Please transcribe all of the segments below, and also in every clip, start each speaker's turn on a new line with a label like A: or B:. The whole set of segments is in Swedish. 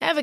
A: Ever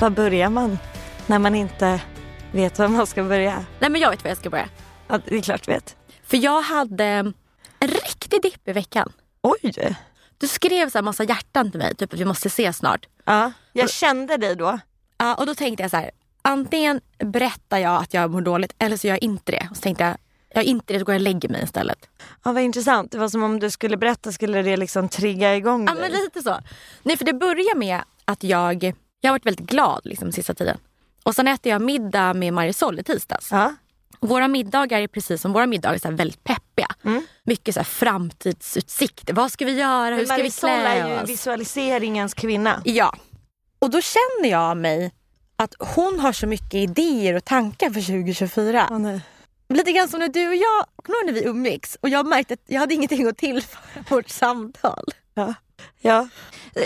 B: Var börjar man när man inte vet var man ska börja?
C: Nej men jag vet var jag ska börja.
B: Ja, det är klart jag vet.
C: För jag hade en riktig dipp i veckan.
B: Oj!
C: Du skrev så här massa hjärtan till mig, typ att vi måste ses snart.
B: Ja, jag kände dig då.
C: Ja, och då tänkte jag så här, antingen berättar jag att jag mår dåligt eller så gör jag inte det. Och så tänkte jag, jag gör inte det så går jag och lägger mig istället.
B: Ja, vad intressant. Det var som om du skulle berätta skulle det liksom trigga igång
C: Ja
B: dig.
C: men lite så. Nej för det börjar med att jag, jag har varit väldigt glad liksom sista tiden. Och sen äter jag middag med Marisol i tisdags.
B: Ja.
C: Våra middagar är precis som våra middagar, så här väldigt peppiga.
B: Mm.
C: Mycket så här framtidsutsikt. Vad ska vi göra? Hur ska vi
B: Marisol
C: klä
B: är ju
C: oss?
B: visualiseringens kvinna.
C: Ja. Och då känner jag mig att hon har så mycket idéer och tankar för 2024.
B: Ja, nej.
C: Lite grann som när du och jag, kommer du ihåg när vi umgicks och jag märkte att jag hade ingenting att tillföra vårt samtal.
B: Ja. ja.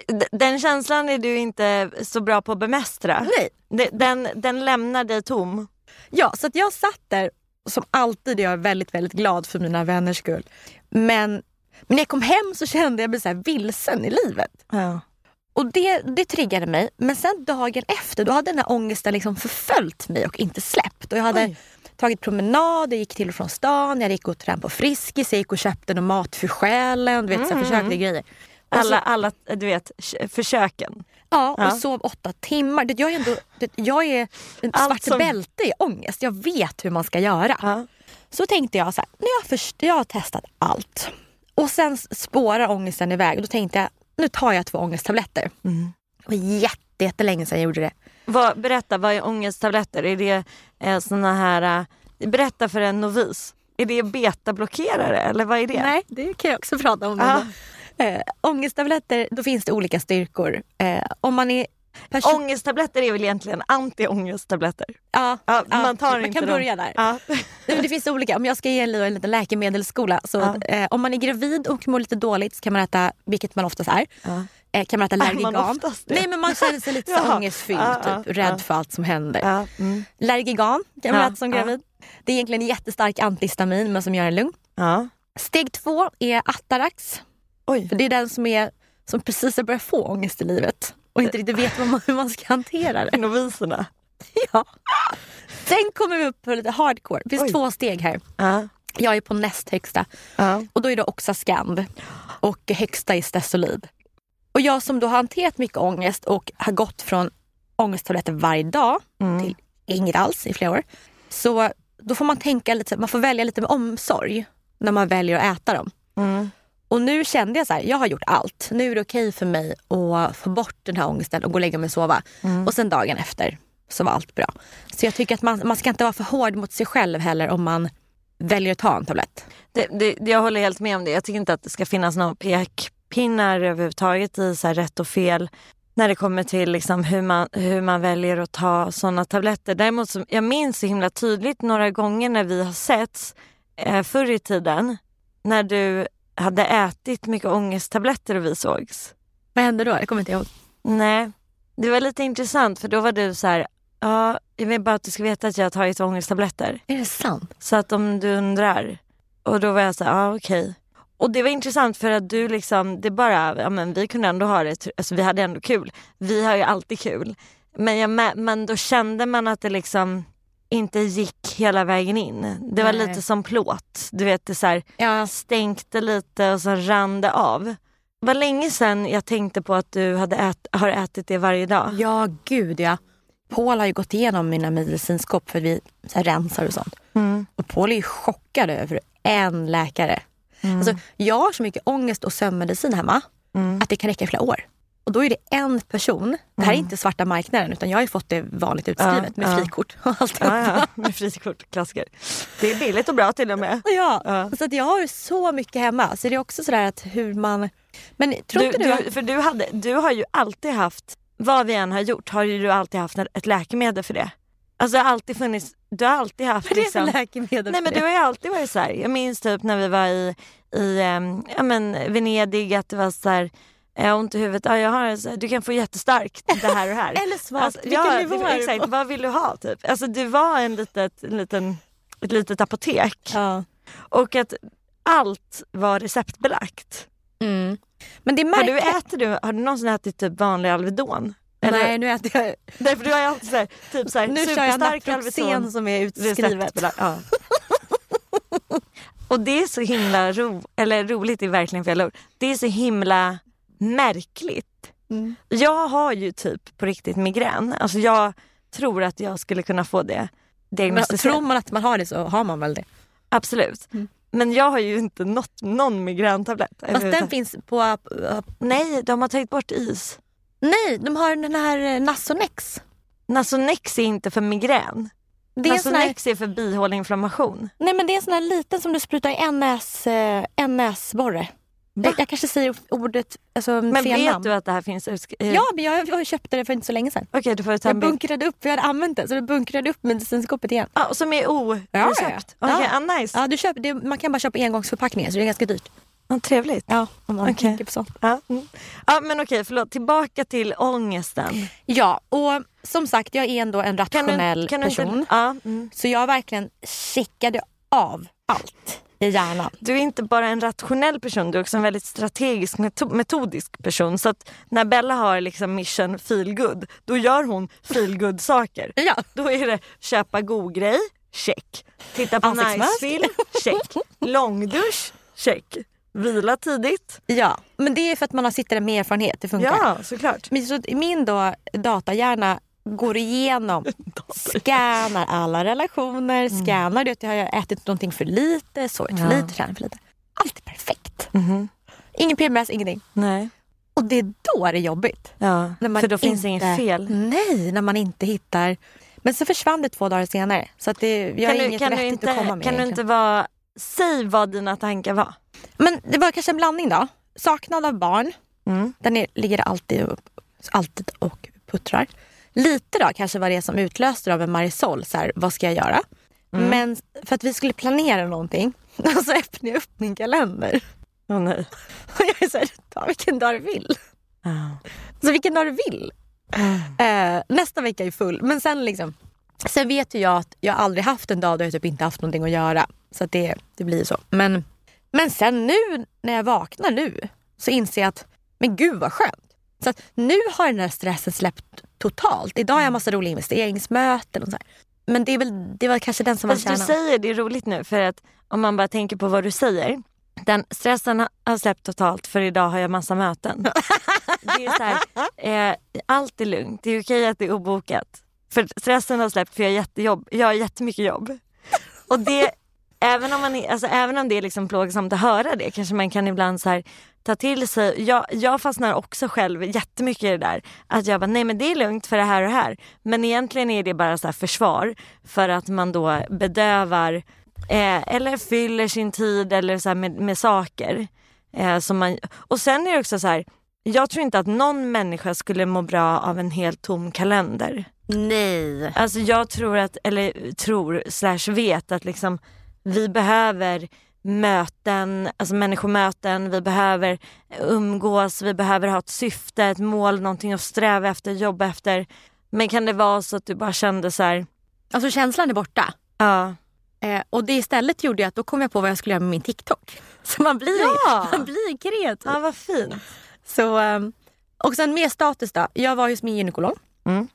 B: D- Den känslan är du inte så bra på att bemästra.
C: Nej.
B: D- Den, den lämnar dig tom.
C: Ja, så att jag satt där, som alltid är jag väldigt, väldigt glad för mina vänners skull. Men, men när jag kom hem så kände jag mig så här vilsen i livet.
B: Ja.
C: Och det, det triggade mig. Men sen dagen efter då hade den här ångesten liksom förföljt mig och inte släppt. Och jag hade
B: Oj.
C: tagit promenader, gick till och från stan, jag gick och tränade på Friskis, jag gick och köpte någon mat för själen. Du vet,
B: Mm.
C: så här, försökte grejer. Och
B: Alla,
C: så,
B: alla du vet, k- försöken.
C: ja, och
B: ja.
C: sov åtta timmar. Du vet, Jag är, ändå, du vet, jag är en
B: Allt
C: svart
B: som-
C: bälte i ångest. Jag vet hur man ska göra.
B: Ja.
C: Så tänkte jag så här, nu har jag, först, jag har testat allt. Och sen spårar ångesten iväg. Och då tänkte jag, nu tar jag två ångesttabletter.
B: Mm.
C: Det var jätte, jättelänge sedan jag gjorde det.
B: Vad, berätta, vad är ångesttabletter? Är det eh, såna här... Eh, berätta för en novis. Är det betablockerare eller vad är det?
C: Nej, det kan jag också prata om.
B: Ja.
C: Eh, ångesttabletter, då finns det olika styrkor. Eh, om man är person...
B: Ångesttabletter är väl egentligen anti-ångesttabletter?
C: ja,
B: Ja,
C: ja,
B: man tar
C: man
B: inte
C: kan
B: dem.
C: börja där.
B: Ja.
C: Nej, men det finns olika. Om jag ska ge Leo en liten läkemedelsskola. Så,
B: Ja.
C: eh, om man är gravid och mår lite dåligt så kan man äta, vilket man oftast är,
B: Ja.
C: eh, kan man äta
B: man
C: Lergigan.
B: oftast det?
C: Nej men man känner sig lite så
B: Jaha.
C: ångestfylld,
B: Ja, ja,
C: typ, rädd
B: ja.
C: för allt som händer.
B: Ja, mm.
C: Lergigan kan man
B: Ja,
C: äta som
B: ja.
C: gravid. Det är egentligen en jättestark antihistamin men som gör en lugn.
B: ja.
C: Steg två är Atarax.
B: Oj.
C: För det är den som, är, som precis har börjat få ångest i livet och inte riktigt vet vad man, hur man ska hantera det.
B: Noviserna.
C: Ja. Sen kommer vi upp på lite hardcore. Det finns
B: Oj.
C: två steg här.
B: Ja.
C: Jag är på näst högsta
B: Ja.
C: och då är det också Scand och högsta är Stesolid. Och jag som då har hanterat mycket ångest och har gått från ångesttabletter varje dag
B: Mm.
C: till inget alls i flera år. Så då får man tänka lite, man får välja lite med omsorg när man väljer att äta dem.
B: Mm.
C: Och nu kände jag så här, jag har gjort allt. Nu är det okej för mig att få bort den här ångesten och gå och lägga mig och sova.
B: Mm.
C: Och sen dagen efter så var allt bra. Så jag tycker att man, man ska inte vara för hård mot sig själv heller om man väljer att ta en tablett.
B: Det, det, det- jag håller helt med om det. Jag tycker inte att det ska finnas några pekpinnar överhuvudtaget i så här rätt och fel när det kommer till liksom hur, man, hur man väljer att ta sådana tabletter. Däremot så, jag minns så himla tydligt några gånger när vi har setts eh, förr i tiden när du hade ätit mycket ångesttabletter och vi sågs.
C: Vad hände då? Det kommer inte jag ihåg.
B: Nej, Det var lite intressant för då var du så här, ja, jag vill bara att du ska veta att jag har tagit ångesttabletter.
C: Är det sant?
B: Så att om du undrar. Och då var jag så här, ja okej. Och det var intressant för att du liksom, det bara, ja men vi kunde ändå ha det, alltså vi hade ändå kul. Vi har ju alltid kul. Men, jag, mä- men då kände man att det liksom inte gick hela vägen in. Det var
C: Nej.
B: lite som plåt, du vet det så här,
C: Ja.
B: stänkte lite och sen rann det av. Det var länge sedan jag tänkte på att du hade ät, har ätit det varje dag.
C: Ja, gud ja. Paul har ju gått igenom mina medicinskåp för vi så här, rensar och sånt. Och Paul är ju chockad över en läkare. Alltså, jag har så mycket ångest och sömnmedicin hemma att det kan räcka i flera år. Och då är det en person, det här är inte svarta marknaden utan jag har ju fått det vanligt utskrivet med frikort och allt.
B: Ja, ja, med frikort, klassiker. Det är billigt och bra till och med.
C: Ja, så att jag har så mycket hemma. Så det är också sådär att hur man... Men tror
B: Du,
C: inte du, att...
B: du, för du, hade, du har ju alltid haft, vad vi än har gjort, har ju du alltid haft ett läkemedel för det. Alltså det har alltid funnits, du har alltid haft
C: Vad är det för
B: liksom,
C: läkemedel
B: Nej
C: för
B: men
C: det?
B: du har ju alltid varit så här. jag minns typ när vi var i, i ehm, ja, men Venedig att det var så här, jag har ont i huvudet, ja, jag har, så här, du kan få jättestarkt det här och det här.
C: Eller svagt, vilken
B: ja,
C: nivå
B: det-
C: är du
B: Exakt,
C: på?
B: vad vill du ha typ? Alltså du var en litet, en liten, ett litet apotek
C: Ja.
B: och att allt var receptbelagt.
C: Men det är
B: Har du,
C: märkligt.
B: äter du, har du någonsin ätit typ vanlig Alvedon? Eller-
C: Nej, nu äter jag
B: Nej för du har ju alltid såhär, typ såhär,
C: Nu kör jag
B: superstark Alvedon.
C: Naproxen som är utskrivet.
B: receptbelagt. Ja. Och det är så himla ro, eller roligt är verkligen fel ord. Det är så himla märkligt.
C: Mm.
B: Jag har ju typ på riktigt migrän. Alltså jag tror att jag skulle kunna få det
C: Men
B: diagnostiserat.
C: tror man att man har det så har man väl det.
B: Absolut. Men jag har ju inte nått någon migräntablett.
C: Fast den
B: överhuvudtaget.
C: finns på... app- app-
B: Nej, de har tagit bort is.
C: nej, de har den här eh, Nasonex.
B: Nasonex är inte för migrän.
C: Det är, en sån här,
B: Nasonex är för bihåleinflammation.
C: nej, men det är en sån här liten som du sprutar i en, näs, eh, en näsborre. Jag, jag kanske säger ordet alltså,
B: Men
C: fel
B: vet
C: namn.
B: du att det här finns utskrivet?
C: Ja, men jag, jag köpte det för inte så länge sedan.
B: Okej, då får du ta
C: Jag
B: en bild.
C: bunkrade upp, jag hade använt det, så jag bunkrade upp medicinskåpet igen.
B: Ah, som är
C: ja.
B: o-recept? Okej,
C: Ja.
B: ah, nice.
C: Ja, du köper, det, man kan bara köpa engångsförpackningar så det är ganska dyrt.
B: Ah, trevligt. Ja,
C: Om man
B: Okej.
C: tänker på sånt.
B: ah, mm. ah, men okej, förlåt. Tillbaka till ångesten.
C: Ja, och som sagt jag är ändå en rationell person.
B: Inte, ah, mm.
C: Så jag verkligen checkade av allt i hjärnan.
B: Du är inte bara en rationell person, du är också en väldigt strategisk, meto- metodisk person. Så att när Bella har liksom mission feel good, då gör hon feel good saker
C: Ja.
B: Då är det köpa god grej, check. Titta på
C: Ansiktsmask.
B: nice-film, check. Långdusch, check. Vila tidigt.
C: ja. Men det är för att man har sitter där med erfarenhet, det funkar.
B: Ja, såklart.
C: Men så min då, datahjärna går igenom, scannar alla relationer, scannar det. Har jag ätit någonting för lite, sovit för lite, tränat för lite. Allt är perfekt.
B: Mm.
C: Ingen PMS, ingenting.
B: Mhm. Nej.
C: Och det är då det är jobbigt.
B: Ja,
C: När man
B: för då finns
C: inte-
B: inget fel.
C: Nej, när man inte hittar. Men så försvann det två dagar senare. Så att det, jag har inget vettigt att komma med.
B: kan du
C: egentligen.
B: inte vara, säg vad dina tankar var.
C: Men det var kanske en blandning då. Saknad av barn.
B: Mm,
C: Den är, ligger alltid, upp- alltid och puttrar. Lite då kanske var det som utlöste av en Marisol. Så här, vad ska jag göra? Men för att vi skulle planera någonting. Och så öppnade jag upp min kalender.
B: Åh nej.
C: Och jag är så här, ta vilken dag du vill. Så vilken dag du vill. Eh, nästa vecka är full. Men sen liksom. Sen vet ju jag att jag aldrig haft en dag då jag typ inte haft någonting att göra. Så att det, det blir ju så. Men, men sen nu när jag vaknar nu så inser jag att men gud vad skönt. Så att nu har den här stressen släppt totalt. Idag har jag massa roliga investeringsmöten och så här. Men det, är väl, det var kanske den som var
B: Fast du
C: kärnan.
B: säger det är roligt nu för att om man bara tänker på vad du säger. Den stressen ha- har släppt totalt för idag har jag massa möten. det är så här, eh, allt är lugnt, det är okej att det är obokat. För stressen har släppt för jag har, jättejobb, jag har jättemycket jobb. Och det, även, om man, är- alltså, även om det är liksom plågsamt att höra det kanske man kan ibland så här, ta till sig. Jag, jag fastnar också själv jättemycket i det där. Att jag bara, nej men det är lugnt för det här och det här. Men egentligen är det bara så här försvar för att man då bedövar eh, eller fyller sin tid eller så här med, med saker. Eh, som man, och sen är det också så här, jag tror inte att någon människa skulle må bra av en helt tom kalender.
C: Nej.
B: Alltså jag tror att, eller tror slash vet att liksom vi behöver möten, alltså människomöten, vi behöver umgås, vi behöver ha ett syfte, ett mål, någonting att sträva efter, jobba efter. Men kan det vara så att du bara kände så här,
C: Alltså känslan är borta.
B: ja,
C: Eh, och det istället gjorde jag att då kom jag på vad jag skulle göra med min TikTok. Så man blir,
B: Ja.
C: man blir kreativ.
B: ja vad fint.
C: Så, ehm, och sen mer status då. Jag var hos min gynekolog.
B: Mm.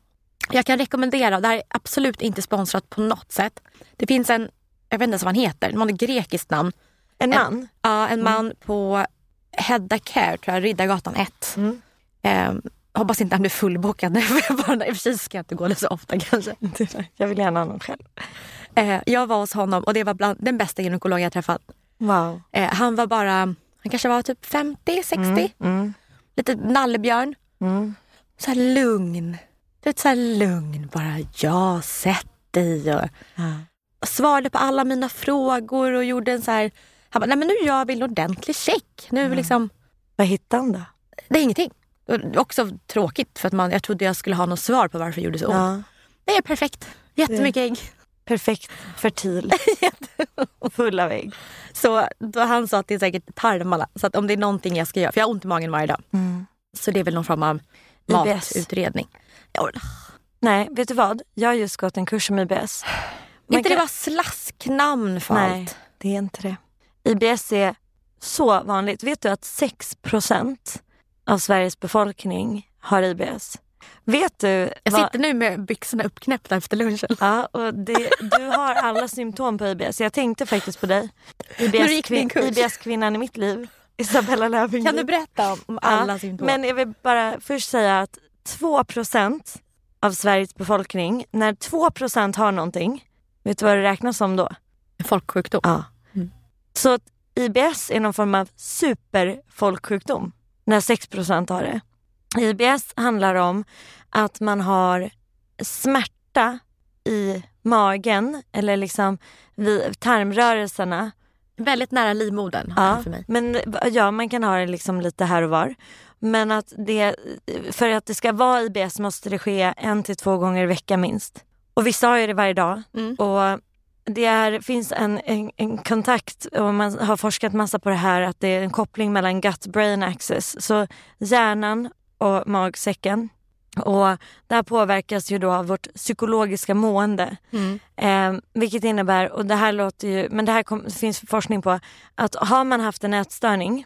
C: Jag kan rekommendera, det här är absolut inte sponsrat på något sätt. Det finns en, jag vet inte ens vad han heter, man har ett grekiskt namn.
B: En man? Mm.
C: Ja, en man på Hedda Care, tror jag, Riddargatan 1.
B: Mm.
C: Ehm, hoppas inte han blir fullbokad nu, för jag bara, i och för sig ska jag inte gå så ofta kanske.
B: Jag vill gärna ha någon själv.
C: Eh, jag var hos honom och det var bland den bästa gynekologen jag träffat.
B: Wow.
C: Eh, han var bara, han kanske var typ 50, 60. Lite nallebjörn. Så här lugn. Du vet, så här lugn bara. Ja, sätt dig. Och, och svarade på alla mina frågor och gjorde en så här. Han bara, nej men nu gör vi en ordentlig check. Nu liksom,
B: Vad hittade han då?
C: det är ingenting. Och det var Också tråkigt för att man, jag trodde jag skulle ha något svar på varför jag gjorde så ont. Det är perfekt. Jättemycket ägg.
B: Perfekt, fertil, full av ägg.
C: Så då han sa att det är säkert tarmarna. Så att om det är någonting jag ska göra, för jag har ont i magen varje dag. Så det är väl någon form av
B: IBS.
C: matutredning. Ja,
B: Nej, vet du vad? Jag har just gått en kurs om IBS. Man
C: inte
B: kan-
C: det var slasknamn för
B: Nej,
C: allt.
B: det är inte det. IBS är så vanligt. Vet du att 6 av Sveriges befolkning har IBS? Vet du?
C: Jag
B: vad-
C: sitter nu med byxorna uppknäppta efter lunchen.
B: Ja, och det, du har alla symptom på IBS. Jag tänkte faktiskt på dig.
C: gick min kurs.
B: IBS-kvinnan i mitt liv, Isabella Löwengrip.
C: Kan du berätta om, om alla
B: Ja,
C: symptom?
B: Men jag vill bara först säga att 2 av Sveriges befolkning, när 2 har någonting, vet du vad det räknas som då?
C: Folksjukdom.
B: Ja. Så att IBS är någon form av superfolksjukdom när 6 har det. IBS handlar om att man har smärta i magen eller liksom vid tarmrörelserna
C: Väldigt nära livmodern har
B: Ja,
C: det för mig.
B: men ja, man kan ha det liksom lite här och var. Men att det, för att det ska vara IBS måste det ske en till två gånger i veckan minst. Och vissa har ju det varje dag. Och det är, finns en, en, en kontakt och man har forskat massa på det här att det är en koppling mellan gut-brain axis. Så hjärnan och magsäcken. Och det här påverkas ju då av vårt psykologiska mående. Eh, vilket innebär, och det här låter ju, men det här kom, finns forskning på, att har man haft en ätstörning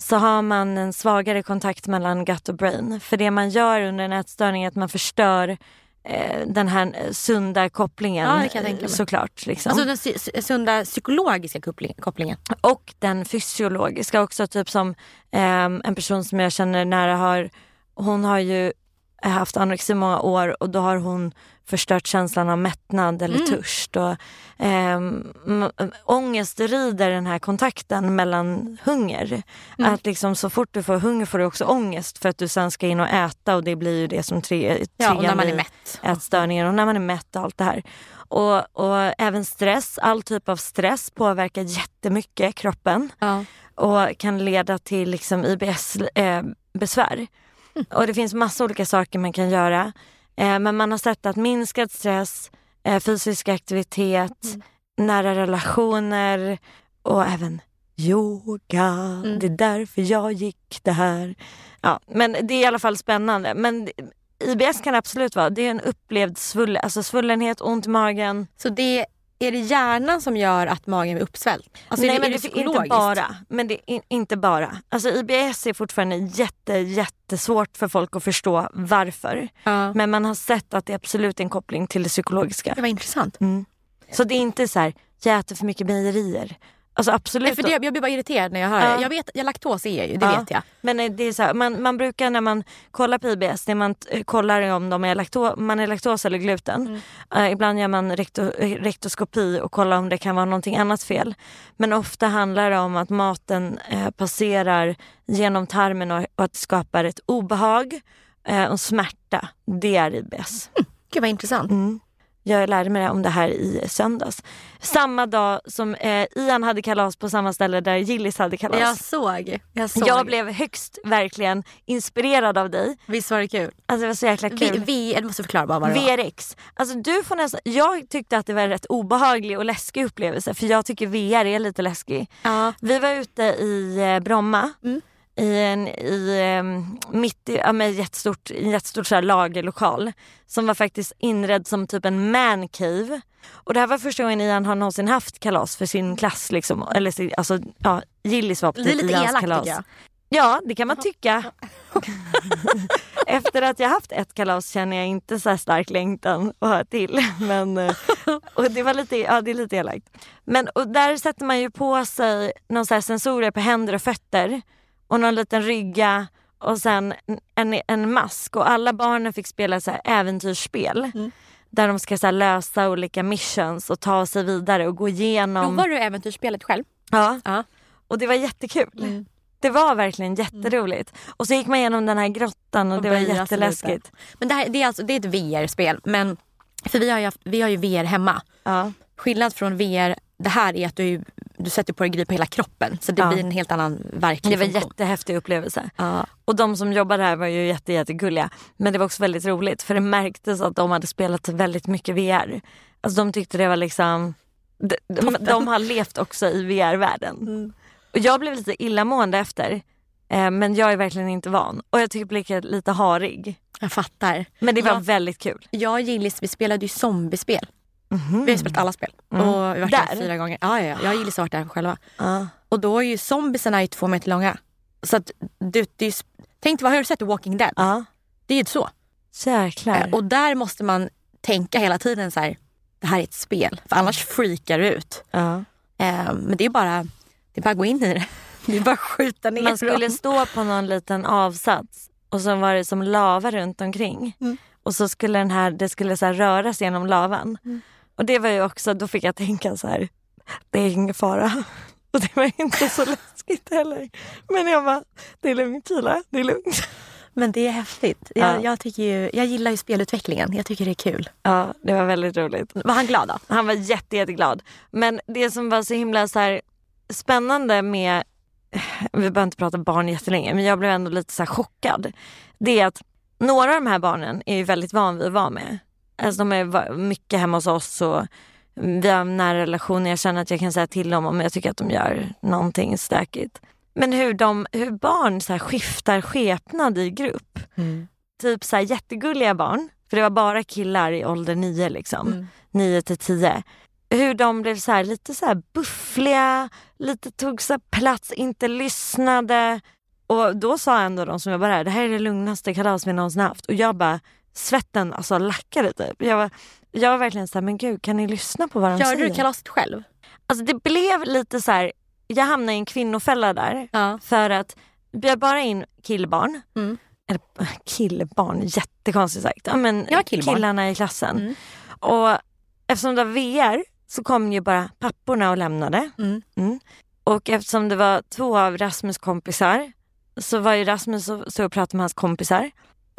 B: så har man en svagare kontakt mellan gut och brain. För det man gör under en ätstörning är att man förstör eh, den här eh, sunda kopplingen
C: Ja, det kan jag tänka mig.
B: såklart. Liksom.
C: Alltså den sy- sy- sunda psykologiska koppling- kopplingen.
B: Och den fysiologiska också, typ som ehm, en person som jag känner nära har, hon har ju haft anorexi i många år och då har hon förstört känslan av mättnad eller
C: Mm.
B: törst. Och, ehm, m- ångest rider den här kontakten mellan hunger.
C: Mm.
B: Att liksom så fort du får hunger får du också ångest för att du sen ska in och äta och det blir ju det som tre,
C: Ja, och när
B: triggar
C: man
B: i-
C: är mätt.
B: ätstörningar och när man är mätt och allt det här. Och, och även stress, all typ av stress påverkar jättemycket kroppen
C: Ja.
B: och kan leda till liksom IBS-besvär. Och det finns massa olika saker man kan göra. Eh, men man har sett att minskad stress, eh, fysisk aktivitet, nära relationer och även yoga. Det är därför jag gick det här. Ja, men det är i alla fall spännande. Men IBS kan absolut vara, det är en upplevd svull, alltså svullenhet, ont i magen.
C: Så det är det hjärnan som gör att magen är uppsvälld? Alltså
B: Nej
C: är det,
B: men
C: är det
B: det är inte
C: psykologiskt?
B: bara. Men det är in, inte bara. Alltså IBS är fortfarande jätte, jättesvårt för folk att förstå varför.
C: Ja.
B: Men man har sett att det absolut är en koppling till det psykologiska.
C: Det var intressant.
B: Så det är inte så här, jag äter för mycket mejerier. Alltså absolut.
C: Nej, för det, jag blir bara irriterad när jag hör
B: Ja.
C: det. Jag vet, jag laktos är jag ju, det
B: Ja.
C: vet jag.
B: Men eh, det är så här, man, man brukar när man kollar på IBS, när man eh, kollar om de är lakto, man är laktos eller gluten.
C: Mm.
B: Eh, ibland gör man rekto, eh, rektoskopi och kollar om det kan vara någonting annat fel. Men ofta handlar det om att maten eh, passerar genom tarmen och, och att det skapar ett obehag eh, och smärta. Det är IBS.
C: Mm. Gud vad intressant.
B: Jag lärde mig det- om det här i söndags. Samma dag som eh, Ian hade kalas på samma ställe där Gillis hade kalas.
C: Jag såg. Jag såg.
B: Mm. Jag blev högst verkligen inspirerad av dig.
C: Visst var det kul?
B: Alltså det var så jäkla
C: Vi,
B: kul.
C: vi, du måste förklara bara vad det var.
B: VRX. Alltså du får nästan, jag tyckte att det var en rätt obehaglig och läskig upplevelse för jag tycker VR är lite läskig.
C: Ja. Mm.
B: Vi var ute i eh, Bromma. I en, i, ehm, mitt i ja, men jättestort, i en jättestort så här lagerlokal. Som var faktiskt inredd som typ en man cave. Och det här var första gången Ian har någonsin haft kalas för sin klass. Liksom. Eller sin, alltså, ja, Gillis var på
C: Det är lite
B: Ians
C: elakt
B: kalas.
C: tycker jag.
B: Ja, det kan man tycka. Efter att jag haft ett kalas känner jag inte så här stark längtan att ha ett till. Men, eh, och det, var lite, ja, det är lite elakt. Men och där sätter man ju på sig någon så här sensorer på händer och fötter och någon liten rygga och sen en, en mask. Och alla barnen fick spela så här äventyrsspel.
C: Mm.
B: Där de ska så här lösa olika missions och ta sig vidare och gå igenom.
C: Provar du äventyrsspelet själv?
B: Mm. Ja.
C: Ja.
B: Och det var jättekul.
C: Mm.
B: Det var verkligen jätteroligt. Och så gick man igenom den här grottan och, det var
C: böja sig
B: jätteläskigt.
C: lite. Men det, här, det, är alltså, det är ett VR-spel. Men, för vi har, ju haft, vi har ju VR hemma.
B: Ja.
C: Skillnad från VR, det här är att du, du sätter på dig grejer på hela kroppen. Så det
B: Ja.
C: blir en helt annan verklig
B: Det var en
C: funktion.
B: jättehäftig upplevelse. Och de som jobbade här var ju jätte, jättegulliga. Men det var också väldigt roligt för det märktes att de hade spelat väldigt mycket VR. Alltså de tyckte det var liksom... De, de, de har levt också i VR-världen. Och jag blev lite illamående efter. Eh, men jag är verkligen inte van. Och jag tycker blev lite harig.
C: Jag fattar.
B: Men det var
C: Ja.
B: väldigt kul.
C: Jag och Gillis vi spelade ju zombiespel. Vi har spelat alla spel. Och vi har varit
B: Där?
C: Mhm. Mm. där fyra gånger. Ja, ja, ja. Jag och Gillis har varit där själva. Och då är ju zombiesarna ju två meter långa. Så att du, det är ju, sp- tänk vad har du sett i Walking Dead?
B: Ja.
C: Det är ju så.
B: Jäklar.
C: Eh, Och där måste man tänka hela tiden så här, det här är ett spel. För annars freakar du ut.
B: ja.
C: Eh, Men det är bara, det är bara att gå in i det. Det är bara att skjuta ner
B: Man skulle
C: dem.
B: stå på någon liten avsats och så var det som lava runt omkring. Och så skulle den här, det skulle så här röras genom lavan. Och det var ju också, då fick jag tänka så här, det är ingen fara. Och det var inte så läskigt heller. Men jag bara, det är lugnt Kila, det är lugnt.
C: Men det är häftigt. Jag,
B: Ja.
C: jag, tycker ju, jag gillar ju spelutvecklingen. Jag tycker det är kul.
B: Ja, det var väldigt roligt.
C: Var han glad då?
B: Han var jätte, jätteglad. Men det som var så himla så här spännande med, vi behöver inte prata barn jättelänge, men jag blev ändå lite så här chockad. Det är att några av de här barnen är ju väldigt van vid att vara med. Alltså de är va- mycket hemma hos oss och vi har en nära relation. Jag känner att jag kan säga till dem om jag tycker att de gör någonting stökigt. Men hur, de, hur barn så här skiftar skepnad i grupp. Typ så här jättegulliga barn, för det var bara killar i ålder 9 liksom.
C: Mm.
B: 9 till 10. Hur de blev så här, lite så här buffliga, lite tog så här plats, inte lyssnade. Och då sa ändå de som jobbade här, det här är det lugnaste kalas vi någonsin haft. Och jag bara, svetten alltså lackade typ. Jag var, jag var verkligen så här, men gud kan ni lyssna på vad de
C: Körde
B: säger?
C: du kalaset själv?
B: Alltså det blev lite så här, jag hamnade i en kvinnofälla där.
C: Ja.
B: För att bjöd bara in killbarn.
C: Mm.
B: Eller äh, killbarn, jättekonstigt sagt. Ja, men
C: Ja, killbarn. Mm.
B: killarna i klassen. Och eftersom det var VR så kom ju bara papporna och lämnade.
C: Mm.
B: Och eftersom det var två av Rasmus kompisar så var ju Rasmus och, så och pratade med hans kompisar.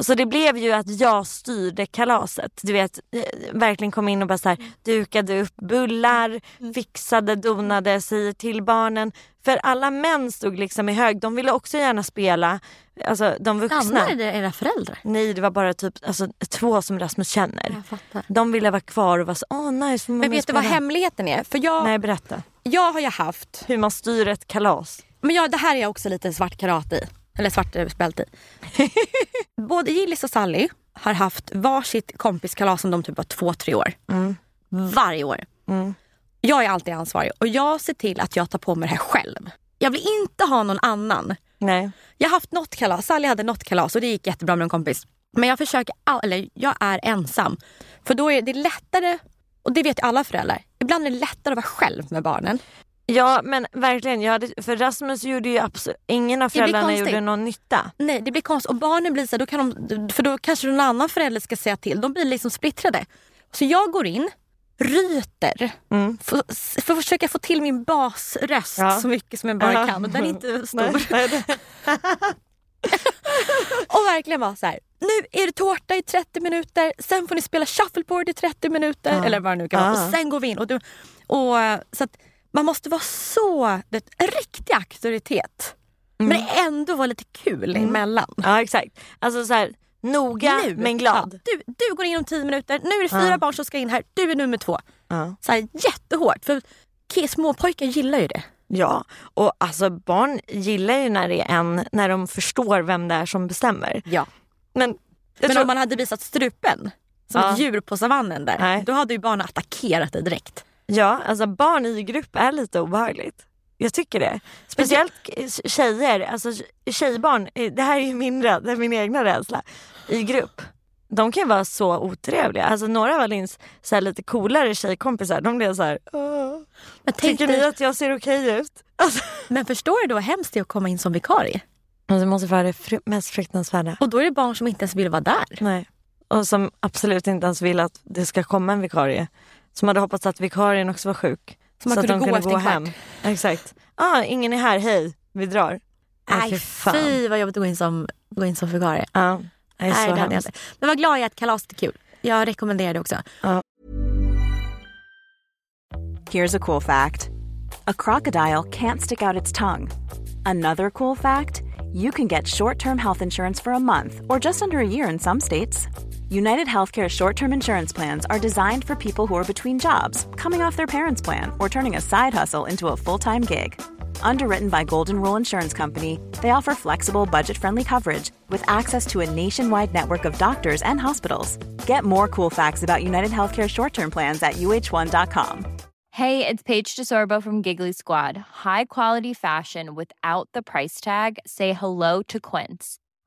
B: Så det blev ju att jag styrde kalaset. Du vet, eh, verkligen kom in och bara så här, dukade upp bullar,
C: Mm.
B: fixade, donade, säger till barnen. För alla män stod liksom i hög. De ville också gärna spela, alltså de vuxna.
C: Stannade det era föräldrar?
B: Nej, det var bara typ alltså, två som Rasmus känner.
C: fattar.
B: De ville vara kvar och vara så, åh nice. får man
C: Men
B: vara
C: vet du vad
B: spela?"
C: hemligheten är? För jag,
B: Nej, berätta.
C: jag har ju haft,
B: Hur man styr ett kalas.
C: men jag, det här är jag också lite svart karat i. Eller svart eh, bälte i. Både Gillis och Sally har haft varsitt kompiskalas som de typ var två, tre år. Varje år. Jag är alltid ansvarig och jag ser till att jag tar på mig det här själv. Jag vill inte ha någon annan.
B: Nej.
C: Jag har haft något kalas, Sally hade något kalas och det gick jättebra med en kompis. Men jag försöker, all, eller jag är ensam. För då är det lättare, och det vet ju alla föräldrar, ibland är det lättare att vara själv med barnen.
B: Ja men verkligen, jag hade, för Rasmus gjorde ju absolut, ingen av
C: Det blir
B: föräldrarna
C: konstigt.
B: gjorde någon nytta.
C: Nej, det blir konstigt. Och barnen blir så här, då kan de, för då kanske någon annan förälder ska säga till. De blir liksom splittrade. Så jag går in, ryter, för, för att försöka få till min basröst
B: Mm. Ja.
C: så mycket som jag bara
B: Ja.
C: kan. Och den är inte stor.
B: Nej, nej, nej.
C: Och verkligen bara så här, nu är det tårta i 30 minuter, sen får ni spela shuffleboard i 30 minuter eller vad det nu kan vara.
B: Ah.
C: Och sen går vi in. Och du, och, eh, så att man måste vara så, det, en riktig auktoritet. Men
B: Mm.
C: ändå vara lite kul emellan.
B: Ja exakt. Alltså så här, noga
C: Nu,
B: men glad.
C: ja, du, du går in om 10 minuter, nu är det fyra barn som ska in här, du är nummer två.
B: Ja.
C: Så här, jättehårt, för ki- småpojkar gillar ju det.
B: Ja, och alltså barn gillar ju när det är en, när de förstår vem det är som bestämmer.
C: Ja.
B: Men, jag
C: Men
B: tror,
C: om man hade visat strupen som
B: Ja.
C: ett djur på savannen där,
B: Nej.
C: då hade ju barnen attackerat dig direkt.
B: ja, alltså barn i grupp är lite obehagligt. Jag tycker det. Speciellt tjejer, alltså tjejbarn, eh, det här är ju min, rä- det är min egna rädsla, i grupp. De kan ju vara så otrevliga. Alltså några av Alins så här, lite coolare tjejkompisar, de blev så här, "Åh,
C: Men, tänk
B: tycker ni
C: dig,
B: att jag ser okej ut? Alltså,
C: men förstår du då hur hemskt det är att komma in som vikarie?
B: alltså det måste vara det fru- mest fruktansvärda.
C: Och då är det barn som inte ens vill vara där.
B: Nej. Och som absolut inte ens vill att det ska komma en vikarie. Som hade hoppats att vikarien också var sjuk.
C: Så man kunde gå efter en kvart.
B: Exakt. Ah, ingen är här, hej, vi drar. Ja,
C: Nej
B: fy fan.
C: fy vad jobbigt att gå in som, gå in som vikarie.
B: Ja, det är
C: Nej,
B: så
C: det hade jag
B: hemskt.
C: inte. Men var glad jag att kalaset är kul. Jag rekommenderar det också.
D: Here's a cool fact a crocodile can't stick out its tongue. Another cool fact you can get short term health insurance for a month or just under a year in some states. United Healthcare short term insurance plans are designed for people who are between jobs, coming off their parents' plan, or turning a side hustle into a full time gig. Underwritten by Golden Rule Insurance Company, they offer flexible, budget friendly coverage with access to a nationwide network of doctors and hospitals. Get more cool facts about United Healthcare short term plans at uh1.com.
E: Hey, it's Paige DeSorbo from Giggly Squad. High quality fashion without the price tag. Say hello to Quince.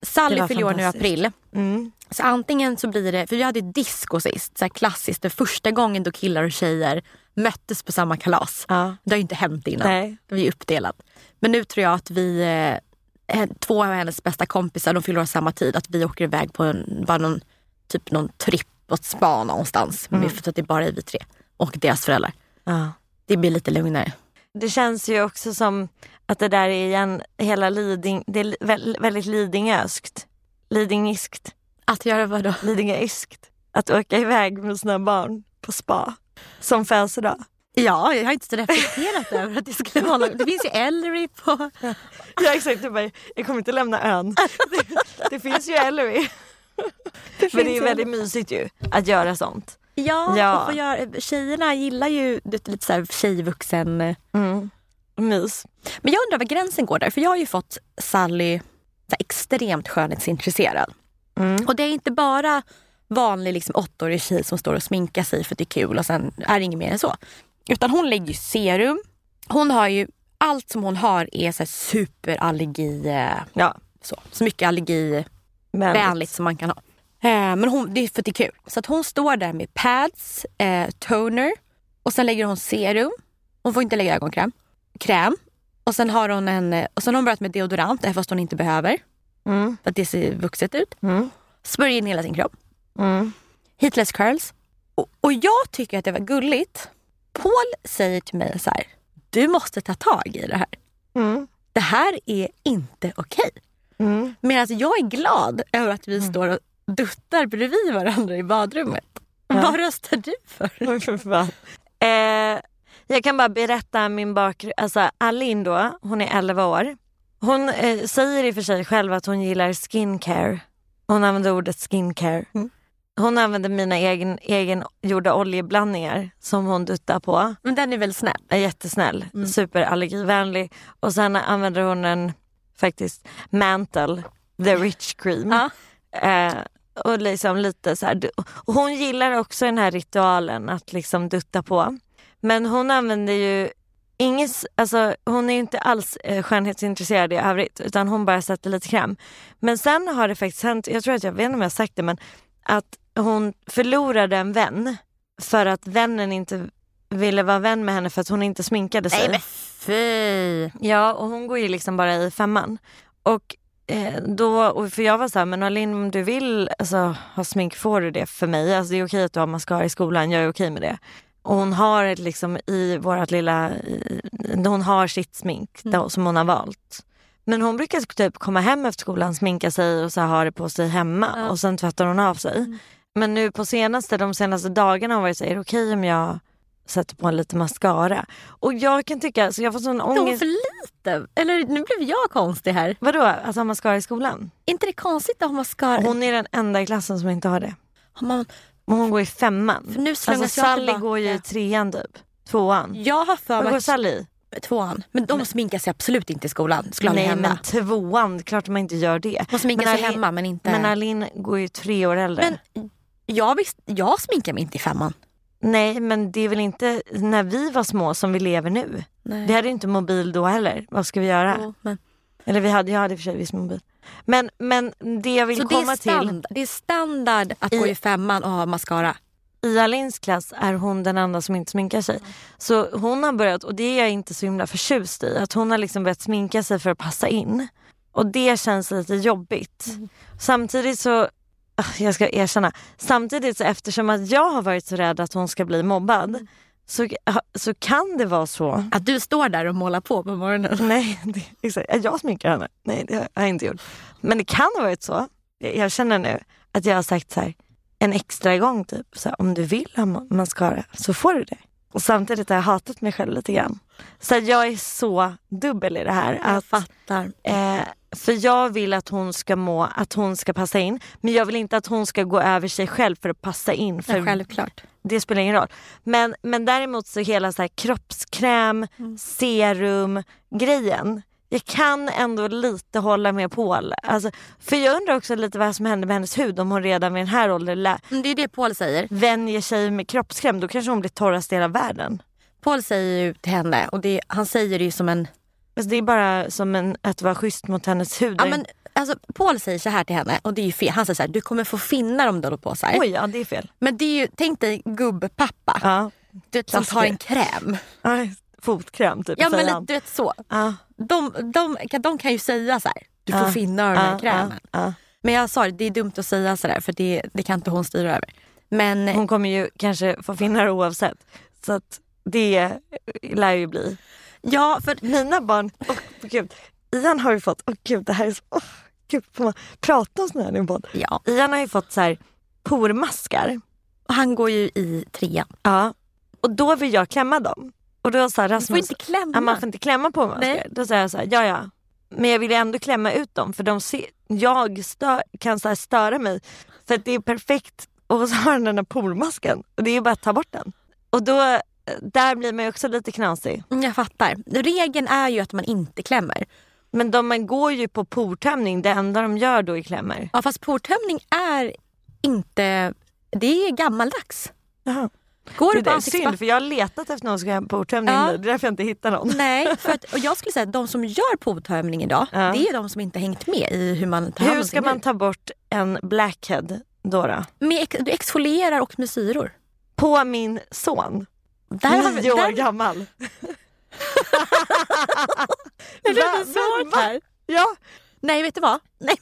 B: Det
C: Sally
B: var
C: fyller år nu i
B: fantastiskt.
C: april.
B: Mm.
C: Så antingen så blir det, för vi hade ju disco sist, så här klassiskt den första gången då killar och tjejer möttes på samma kalas.
B: Ja.
C: Det har ju inte hänt innan.
B: Nej.
C: Vi är uppdelade. Men nu tror jag att vi, eh, två av hennes bästa kompisar, de fyller år samma tid, att vi åker iväg på en, bara någon, typ någon tripp åt spa någonstans. Men vi får att det bara är vi tre och deras föräldrar.
B: Ja.
C: Det blir lite lugnare.
B: Det känns ju också som att det där är igen hela Liding, det är li- vä- väldigt Lidingöskt. Lidingiskt.
C: Att göra vadå?
B: Lidingöiskt. Att åka iväg med sina barn på spa. Som födelsedag.
C: Ja, jag har inte så reflekterat över att det skulle vara något. Det finns ju Ellery på...
B: Ja exakt, du bara, jag kommer inte lämna ön. Det, det finns ju Ellery. Men det är väldigt mysigt ju att göra sånt.
C: Ja,
B: Ja.
C: Och få göra, tjejerna gillar ju det, lite så här tjejvuxen...
B: Mys.
C: Men jag undrar var gränsen går där. För jag har ju fått Sally så här, extremt skönhetsintresserad. Och det är inte bara vanlig liksom, åttaårig tjej som står och sminkar sig för att det är kul och sen är det inget mer än så. Utan hon lägger ju serum. Hon har ju, allt som hon har är så här, superallergi... eh,
B: Ja,
C: Så, så mycket allergi
B: men
C: vänligt som man kan ha. Eh, men hon, det är för att det är kul. Så att hon står där med pads, eh, toner och sen lägger hon serum. Hon får inte lägga ögonkräm. Kräm. Och sen har hon en, eh, och sen har hon börjat med deodorant, även fast hon inte behöver.
B: Mm.
C: För att det ser vuxet ut.
B: Mm.
C: Smörjer in hela sin kropp.
B: Mm.
C: Heatless curls. Och, och jag tycker att det var gulligt. Paul säger till mig så här. Du måste ta tag i det här.
B: Mm.
C: Det här är inte okej.
B: Mm.
C: Medan jag är glad över att vi står och duttar bredvid varandra i badrummet. Vad röstar du för?
B: För fan. Eh, jag kan bara berätta min bakgrund. Alltså Alin då, hon är 11 år. Hon eh, säger i och för sig själv att hon gillar skincare. Hon använder ordet skincare. Hon använder mina egen, egengjorda oljeblandningar som hon duttar på.
C: Men den är väl snäll?
B: Är jättesnäll, superallergivänlig. Och sen använder hon en faktiskt mantle, the rich cream. Eh, och liksom lite så här, du- och hon gillar också den här ritualen att liksom dutta på. Men hon använder ju inget, alltså hon är ju inte alls eh, skönhetsintresserad i övrigt utan hon bara sätter lite kräm. Men sen har det faktiskt hänt, jag tror att jag vet inte om jag har sagt det men att hon förlorade en vän för att vännen inte ville vara vän med henne för att hon inte sminkade sig.
C: Fy!
B: Ja, och hon går ju liksom bara i femman. Och eh, då, och för jag var så här, men Alin om du vill alltså, ha smink får du det för mig. Alltså, det är okej att du har mascara i skolan, jag är okej med det. Och hon har ett liksom i vårat lilla, i, hon har sitt smink då, som hon har valt. Men hon brukar typ komma hem efter skolan, sminka sig och så här, ha det på sig hemma och sen tvättar hon av sig. Men nu på senaste, de senaste dagarna har hon varit så här, är det okej om jag sätter på lite mascara? Och jag kan tycka, så jag får sån
C: Hon
B: ångest.
C: för lite. Eller nu blev jag konstig här.
B: Vadå, Alltså, att ha mascara i skolan?
C: Är inte det konstigt att ha mascara?
B: Hon är den enda i klassen som inte har det.
C: Har man...
B: Men hon går i femman.
C: För nu slängas
B: alltså
C: jag
B: Sally
C: tillbaka.
B: går ju i trean typ. Tvåan.
C: Jag har för
B: Vad
C: mig
B: går
C: att
B: Sally i?
C: tvåan. Men de sminkar sig absolut inte i skolan. Skulle aldrig
B: Nej
C: hända.
B: men tvåan, klart man inte gör det.
C: De sminkar
B: Men
C: sig
B: Alin-
C: hemma men inte...
B: Men Alin går ju tre år äldre.
C: Men jag, visst, jag sminkar mig inte i femman.
B: Nej men det är väl inte när vi var små som vi lever nu.
C: Nej.
B: Vi hade ju inte mobil då heller. Vad ska vi göra?
C: men...
B: Eller vi hade, jag hade i och för sig viss mobil. Men, men det jag vill
C: Så det är,
B: komma till.
C: standard, det är standard att gå i femman och ha mascara.
B: i Alins klass är hon den enda som inte sminkar sig. Så hon har börjat, och det är jag inte så himla förtjust i, att hon har liksom börjat sminka sig för att passa in. Och det känns lite jobbigt. Samtidigt så, ah, jag ska erkänna, samtidigt så eftersom att jag har varit så rädd att hon ska bli mobbad så, ah, så kan det vara så.
C: Att du står där och målar på på morgonen.
B: Nej, det, exakt. Jag sminkar henne. Nej, det har jag inte gjort. Men det kan ha varit så. Jag jag känner nu att jag har sagt så här en extra gång typ. Så här, om du vill ha ma- mascara så får du det. Och samtidigt har jag hatat mig själv lite grann. Så att jag är så dubbel i det här.
C: Jag
B: Att,
C: fattar.
B: eh, för jag vill att hon ska må, att hon ska passa in. Men jag vill inte att hon ska gå över sig själv för att passa in. För
C: Ja, självklart.
B: det spelar ingen roll. Men, men däremot så hela så här kroppskräm,
C: Mm.
B: serum grejen. Jag kan ändå lite hålla med Paul. Alltså, för jag undrar också lite vad som händer med hennes hud om hon redan vid den här åldern lä-
C: Men Det är det Paul säger.
B: vänjer sig med kroppskräm. Då kanske hon blir torrast i hela världen.
C: Paul säger ju till henne och det, han säger det ju som en...
B: Alltså, det är bara som en, att vara schysst mot hennes hud.
C: Ja, men, alltså, Paul säger så här till henne och det är ju fel. Han säger så här, du kommer få finnar om du håller på så här.
B: Oj, ja det är fel.
C: Men det är ju, tänk dig gubbpappa.
B: Ja.
C: Du vet, som tar
B: klassiker.
C: en kräm.
B: Aj, Fotkräm typ,
C: Ja men
B: säger
C: lite,
B: han.
C: du vet så.
B: Ja.
C: De, de, kan- de kan ju säga så här, du får
B: Ja,
C: finna den här
B: ja,
C: krämen.
B: ja, ja.
C: Men jag sa det, det är dumt att säga så där för det, det kan inte hon styra över. Men
B: Hon kommer ju kanske få finnar oavsett. Så att det lär ju bli.
C: ja, för
B: Mina barn, åh gud, Ian har ju fått, åh gud det här är så, åh gud får man prata om sån här i en podd?
C: Ja.
B: Ian har ju fått så här pormaskar.
C: han går ju i trean.
B: Ja. Och då vill jag klämma dem. Och då sa Rasmus,
C: inte klämma.
B: Ja, man får inte klämma pormaskar.
C: Nej.
B: Då sa jag så här, ja ja. Men jag vill ju ändå klämma ut dem för de ser, jag stör, kan så här störa mig. För att det är perfekt och så har han den här pormasken. Och det är ju bara att ta bort den. Och då, där blir man ju också lite knasig.
C: Mm, Jag fattar. Regeln är ju att man inte klämmer.
B: Men de man går ju på portömning, det enda de gör då är klämmer.
C: Ja, fast portömning är inte... Det är gammaldags.
B: Jaha.
C: Går
B: Det
C: du på
B: där är synd
C: ansiktsvatten?
B: för jag har letat efter någon som kan göra portömning
C: Ja.
B: nu, det är därför jag inte hittar någon.
C: Nej, för att, och jag skulle säga att de som gör portömning idag,
B: Ja.
C: det är de som inte hängt med i hur man tar hand
B: Hur
C: om
B: ska
C: sin
B: man
C: hud.
B: ta bort en blackhead då? då?
C: Med ex, du exfolierar och med syror.
B: På min son,
C: Där har vi-
B: nio år
C: där-
B: gammal.
C: Det
B: Va-
C: blir
B: men
C: svårt
B: va?
C: här.
B: Ja,
C: Nej, vet du vad? Nej.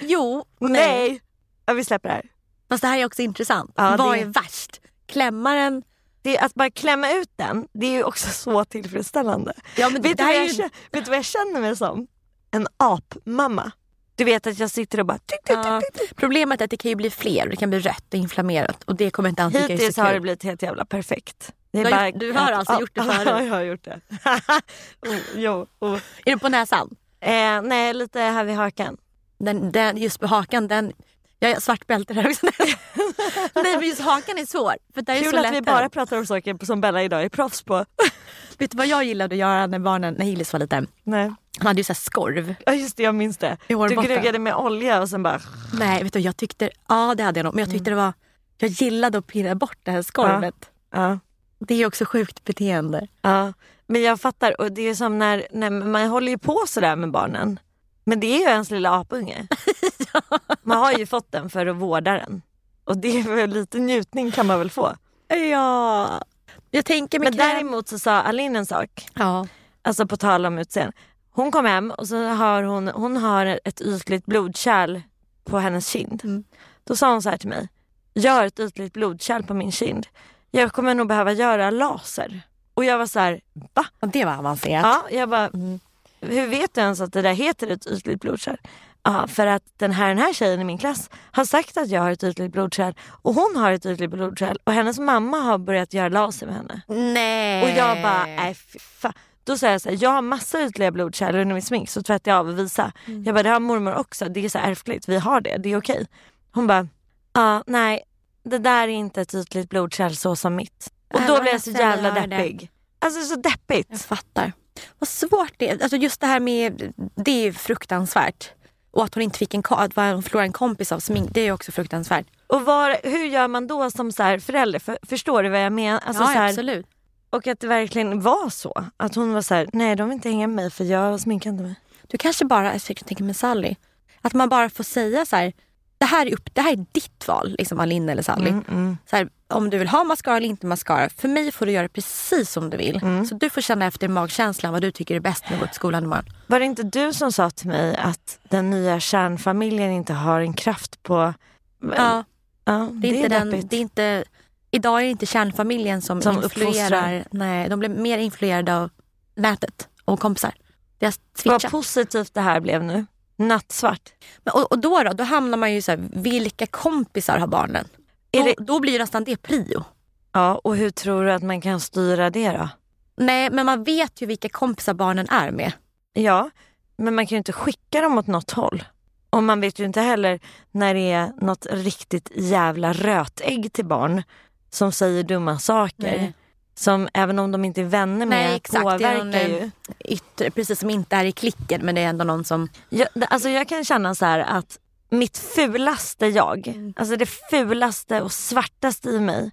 C: Jo,
B: nej. Ja, vi släpper det här.
C: Fast det här är också intressant.
B: Ja,
C: vad
B: det-
C: är värst? Klämmaren?
B: Det, att bara klämma ut den, det är ju också så tillfredsställande.
C: Ja, men det
B: vet, du
C: där
B: vad
C: är
B: jag,
C: ju-
B: kä- vet du vad jag känner mig som? En apmamma. Du vet att jag sitter och bara... tick, tick, tick,
C: Ja. Problemet är att det kan ju bli fler. Det kan bli rött och inflammerat. Och det kommer inte alltid tycka är
B: Hittills
C: så
B: har
C: kul.
B: det blivit helt jävla perfekt. Det
C: Du har gjort- du har alltså gjort det
B: Ja,
C: förut?
B: jag har gjort det. oh, jo, oh.
C: Är det på näsan?
B: Eh, nej, lite här vid hakan.
C: Den, den, just på hakan, den... Jag har svart bälte där också. Nej men just hakan är svår. För där är
B: Kul
C: så
B: att
C: lätt
B: vi
C: den.
B: bara pratar om saker som Bella idag är proffs på.
C: Vet du vad jag gillade att göra när barnen, när Hillis var liten?
B: nej.
C: Han hade ju så här skorv.
B: Ja just det, jag minns det.
C: I
B: Du
C: hårbotten.
B: gnuggade med olja och sen bara...
C: Nej vet du jag tyckte, ja det hade jag nog. Men jag tyckte det var, jag gillade att pirra bort det här skorvet.
B: Ja.
C: Det är också sjukt beteende.
B: ja. Men jag fattar, och det är som när, när man håller ju på sådär med barnen. Men det är ju ens lilla apunge. Man har ju fått den för att vårda den. Och det är väl lite njutning kan man väl få.
C: Ja. Jag tänker
B: Men
C: med kräm.
B: däremot så sa Aline en sak.
C: Ja.
B: Alltså på tal om utseende. Hon kom hem och så har hon, hon har ett ytligt blodkärl på hennes kind. Då sa hon så här till mig. Gör ett ytligt blodkärl på min kind. Jag kommer nog behöva göra laser. Och jag var så här, va?
C: Och Det var avancerat.
B: Ja, jag bara,
C: Mm.
B: hur vet du ens att det där heter ett ytligt blodkärl? Ja, för att den här, den här tjejen i min klass har sagt att jag har ett ytligt blodkärl och hon har ett ytligt blodkärl och hennes mamma har börjat göra laser med henne.
C: Nej.
B: Och jag bara, nej fy fan. Då sa jag så här, jag har massa ytliga blodkärl under mitt smink så tvättar jag av och visar.
C: Mm.
B: Jag bara, det har mormor också, det är så här ärftligt, vi har det, det är okej. Hon bara, ja nej det där är inte ett ytligt blodkärl så som mitt. Och
C: Nej,
B: då
C: Äh, vad
B: blev jag så
C: ledsen,
B: jävla
C: jag hörde.
B: deppig. Alltså så deppigt.
C: Jag fattar. Vad svårt det är. Alltså just det här med, det är ju fruktansvärt. Och att hon inte fick en, ko- att vara- hon förlorade en kompis av smink, det är ju också fruktansvärt.
B: Och var, hur gör man då som så här förälder? För, förstår du vad jag menar? Alltså så här,
C: absolut.
B: och att det verkligen var så. Att hon var så här, nej de vill inte hänga med mig för jag sminkar inte mig.
C: Du kanske bara, jag försöker tänka med Sally, att man bara får säga så här, det här är, upp, det här är ditt val, liksom Alin eller Sally.
B: Mm,
C: Så här, om du vill ha mascara eller inte mascara, för mig får du göra precis som du vill.
B: Mm.
C: Så du får känna efter magkänslan vad du tycker är bäst när du går till skolan imorgon.
B: Var det inte du som sa till mig att den nya kärnfamiljen inte har en kraft på...
C: Ja.
B: Ja,
C: Det är, inte den,
B: deppigt.
C: det är inte, idag är det inte kärnfamiljen som,
B: Som uppfostrar.
C: influerar. Nej, de blir mer influerade av nätet och kompisar. Deras
B: Vad
C: switchat.
B: positivt det här blev nu. Nattsvart.
C: Men- Och, och då, då, då hamnar man ju så här, vilka kompisar har barnen?
B: Är
C: Då,
B: det-
C: då blir ju nästan det prio.
B: Ja, och hur tror du att man kan styra det då?
C: Nej, men man vet ju vilka kompisar barnen är med.
B: Ja, men man kan ju inte skicka dem åt något håll. Och man vet ju inte heller när det är något riktigt jävla rötägg till barn som säger dumma saker.
C: Nej.
B: Som även om de inte är vänner med
C: Nej, exakt. Det är
B: påverkar
C: någon,
B: ju.
C: eh, yttre, precis som inte är i klicken men det är ändå någon som...
B: Jag, det- alltså jag kan känna så här att mitt fulaste jag,
C: Mm.
B: alltså det fulaste och svartaste i mig,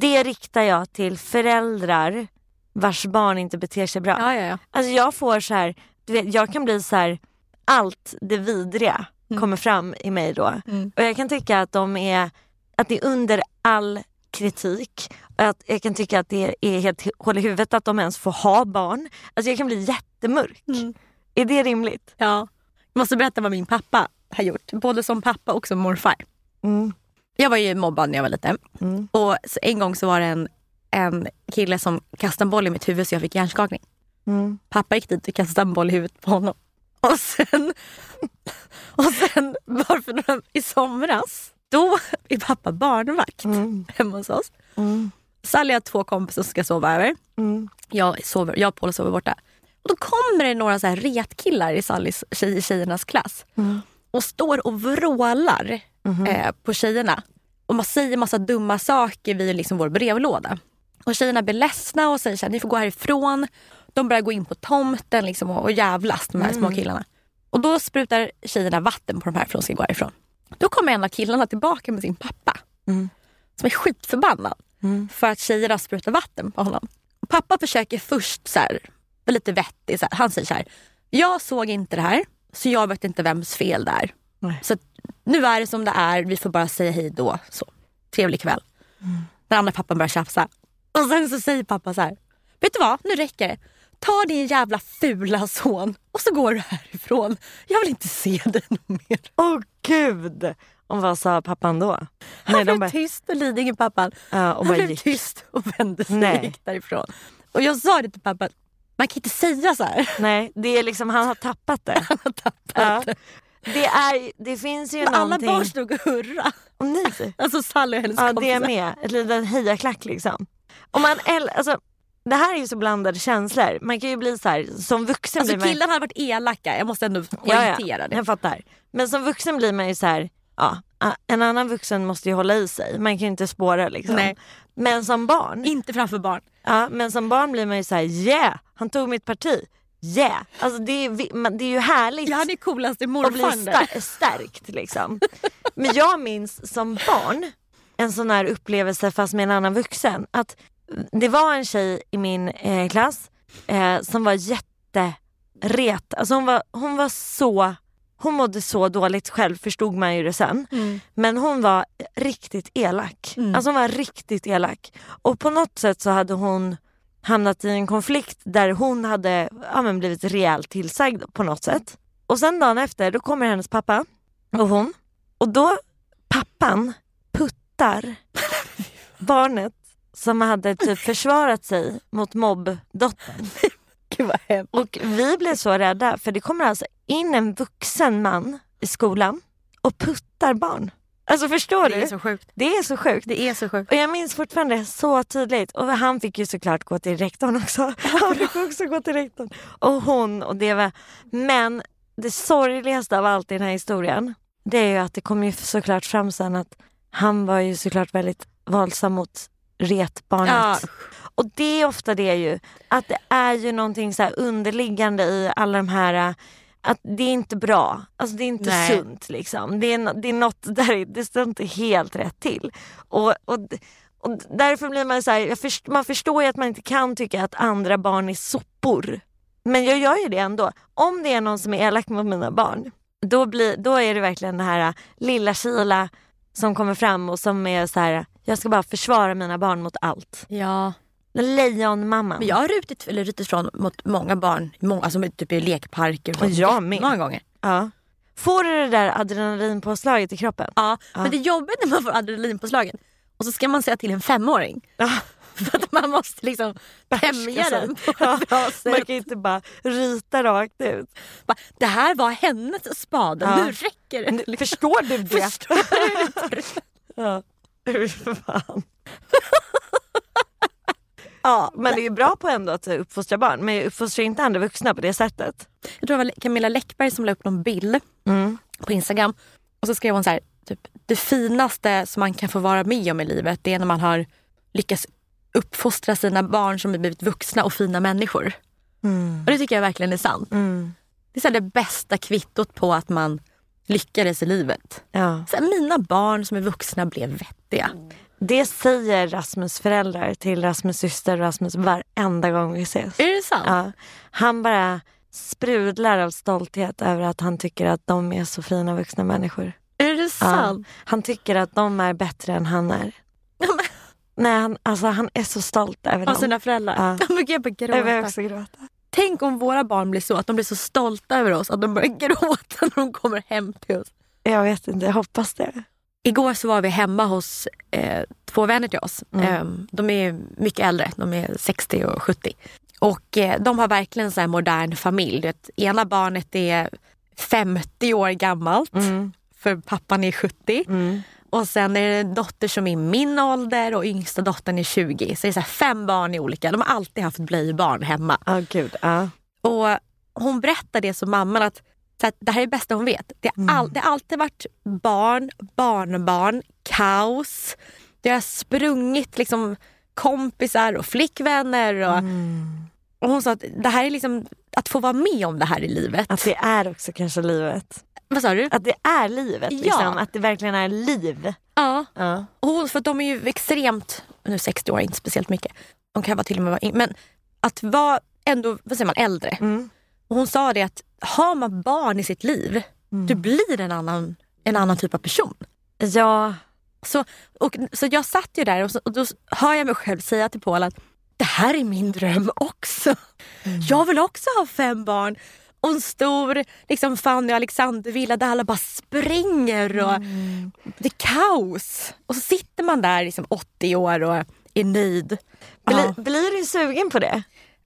B: det riktar jag till föräldrar vars barn inte beter sig bra.
C: ja, ja.
B: Alltså jag får så här, du vet, jag kan bli så här, allt det vidriga
C: Mm.
B: kommer fram i mig då. Och jag kan tycka att de är, att det är under all kritik. Och Att jag kan tycka att det är helt hål i huvudet att de ens får ha barn. Alltså jag kan bli jättemörk.
C: Mm.
B: Är det rimligt?
C: Ja. Jag måste berätta vad min pappa har gjort. Både som pappa och som morfar. Jag var ju mobbad när jag var liten. Och så en gång så var det en, en kille som kastade en boll i mitt huvud så jag fick hjärnskakning. Pappa gick dit och kastade en boll i huvudet på honom. Och sen, och sen bara för några, i somras, då är pappa barnvakt hemma hos oss. Sally har två kompisar som ska sova över. Jag, sover, jag och Paul sover borta. Och då kommer det några så här retkillar i Sallys tjej, tjejernas klass och står och vrålar eh, på tjejerna. Och man säger massa dumma saker vid liksom vår brevlåda. Och tjejerna blir ledsna och säger att ni får gå härifrån. De börjar gå in på tomten liksom och, och jävlas de här små killarna. Och då sprutar tjejerna vatten på de här för att de ska gå härifrån. Då kommer en av killarna tillbaka med sin pappa. Som är skitförbannad. För att tjejerna sprutar vatten på honom. Pappa försöker först så här, vara lite vettig. Så här. Han säger så här. Jag såg inte det här. Så jag vet inte vems fel det är. Så att, nu är det som det är. Vi får bara säga hej då. Så. Trevlig kväll. Den andra pappan börjar tjafsa. Och sen så säger pappa så här. Vet du vad? Nu räcker det. Ta din jävla fula son och så går du härifrån. Jag vill inte se dig någon mer.
B: Åh gud! Och vad sa pappan då?
C: Han
B: Nej, de
C: blev
B: bara,
C: tyst och lidingö pappan.
B: Ja, och
C: han
B: bara
C: blev
B: gick.
C: tyst och vände sig
B: Nej.
C: och gick därifrån. Och jag sa det till pappa, att man kan inte säga så här.
B: nej, det är liksom, han har tappat det.
C: Han har
B: Ja.
C: tappat det.
B: Det, är, det finns ju
C: Men alla
B: någonting...
C: barn stod och hurra.
B: Åh, nej.
C: Alltså Sally och hennes
B: Ja, det
C: kompisar.
B: är med. Ett litet hejaklack liksom. Och man äl- alltså, det här är ju så blandade känslor. Man kan ju bli så här, som vuxen
C: Alltså
B: blir man
C: killarna hade varit elaka, jag måste ändå
B: Ja,
C: poängtera
B: ja,
C: det.
B: jag fattar. Men som vuxen blir man ju så här, ja, en annan vuxen måste ju hålla i sig. Man kan ju inte spåra liksom.
C: Nej.
B: Men som barn,
C: Inte framför barn.
B: ja, men som barn blir man ju så här, yeah, han tog mitt parti. Yeah. Alltså det är, vi- man- det är ju härligt
C: Jag hade ju coolaste
B: och bli
C: morfar. där.
B: star- stärkt liksom. Men jag minns som barn en sån här upplevelse fast med en annan vuxen. Att det var en tjej i min eh, klass eh, som var jätteret. Alltså hon var, hon var så, hon mådde så dåligt själv förstod man ju det sen. Men hon var riktigt elak. Alltså hon var riktigt elak. Och på något sätt så hade hon hamnat i en konflikt där hon hade ja, men blivit rejält tillsagd på något sätt. Och sen dagen efter då kommer hennes pappa och hon och då pappan puttar barnet som hade typ försvarat sig mot mobbdottern.
C: Gud vad hemskt.
B: Och vi blev så rädda för det kommer alltså in en vuxen man i skolan och puttar barn. Alltså förstår du?
C: sjukt.
B: Det är så sjukt.
C: Det är så sjukt.
B: Och jag minns fortfarande så tydligt. Och han fick ju såklart gå till rektorn också. Han fick också gå till rektorn. Och hon och det var... Men det sorgligaste av allt i den här historien det är ju att det kom ju såklart fram sen att han var ju såklart väldigt våldsam mot retbarnet.
C: Ja.
B: Och det är ofta det ju, att det är ju någonting så här underliggande i alla de här, äh, att det är inte bra, alltså det är inte
C: Nej.
B: sunt liksom. Det är, nå- det är något där, det står inte helt rätt till. Och, och, d- och därför blir man så här, jag först, man förstår ju att man inte kan tycka att andra barn är sopor. Men jag gör ju det ändå. Om det är någon som är elak mot mina barn, då, blir, då är det verkligen den här äh, lilla Kila som kommer fram och som är så här, jag ska bara försvara mina barn mot allt.
C: Ja.
B: Lejonmamman.
C: Men jag har rutit, eller rutit från mot många barn, må, alltså med typ i lekparker.
B: Och
C: och sånt.
B: jag med.
C: Många gånger.
B: Ja. Får du det där adrenalinpåslaget i kroppen?
C: Ja, men det är jobbigt när man får adrenalinpåslaget och så ska man säga till en femåring. För att man måste liksom tämja den på
B: Ja,
C: ett bra
B: man
C: sätt.
B: kan ju inte bara rita rakt ut.
C: Bara, Det här var hennes spade,
B: Ja.
C: nu räcker det.
B: Nu- Förstår du det?
C: Förstår du?
B: Ja. Fy fan. ja, men det är ju bra på ändå att uppfostra barn. Men jag uppfostrar ju inte andra vuxna på det sättet.
C: Jag tror det var Camilla Läckberg som la upp någon bild
B: Mm.
C: på Instagram. Och så skrev hon så här, typ, det finaste som man kan få vara med om i livet det är när man har lyckats uppfostra sina barn som har blivit vuxna och fina människor.
B: Mm.
C: Och det tycker jag verkligen är sant. Det är så här, det bästa kvittot på att man lyckades i livet.
B: Ja.
C: Så här, mina barn som är vuxna blev vettiga.
B: Det säger Rasmus föräldrar till Rasmus syster och Rasmus varenda gång vi ses.
C: Är det sant?
B: Ja, han bara sprudlar av stolthet över att han tycker att de är så fina vuxna människor.
C: Är det
B: Ja,
C: sant?
B: han tycker att de är bättre än han är. Nej, han, alltså, han är så stolt över
C: Av
B: dem.
C: sina föräldrar?
B: Ja.
C: Jag börjar bara gråta.
B: Jag börjar också gråta.
C: Tänk om våra barn blir så att de blir så stolta över oss att de börjar gråta när de kommer hem till oss.
B: Jag vet inte, jag hoppas det.
C: Igår så var vi hemma hos eh, två vänner till oss. Eh, de är mycket äldre, de är 60 och 70. Och eh, de har verkligen så här modern familj. Du vet, ena barnet är 50 år gammalt
B: Mm.
C: för pappan är 70. Och sen är det en dotter som är min ålder och yngsta dottern är 20. Så det är så här fem barn i olika. De har alltid haft blöjbarn hemma.
B: Ja, gud. Ja.
C: Och hon berättar det som mamman att så att det här är det bästa hon vet. Det har,
B: Mm.
C: all, det har alltid varit barn, barnbarn, kaos. Det har sprungit liksom kompisar och flickvänner. Och,
B: Mm.
C: och hon sa att det här är liksom att få vara med om det här i livet.
B: Att det är också kanske livet.
C: Vad sa du?
B: Att det är livet.
C: Ja.
B: Liksom. Att det verkligen är liv.
C: ja.
B: Ja.
C: Och hon- för att de är ju extremt, nu 60 år är inte speciellt mycket. De kan vara till och med vara in, men att vara ändå, vad säger man, äldre. Och hon sa det att har man barn i sitt liv, du blir en annan, en annan typ av person.
B: ja.
C: Så, och, så jag satt ju där och, så, och då hör jag mig själv säga till Paul att det här är min dröm också. Jag vill också ha fem barn och en stor liksom, Fanny och Alexander-villa där alla bara springer och det är kaos. Och så sitter man där liksom 80 år och är nöjd.
B: Bli,
C: Ja.
B: Blir du sugen på det?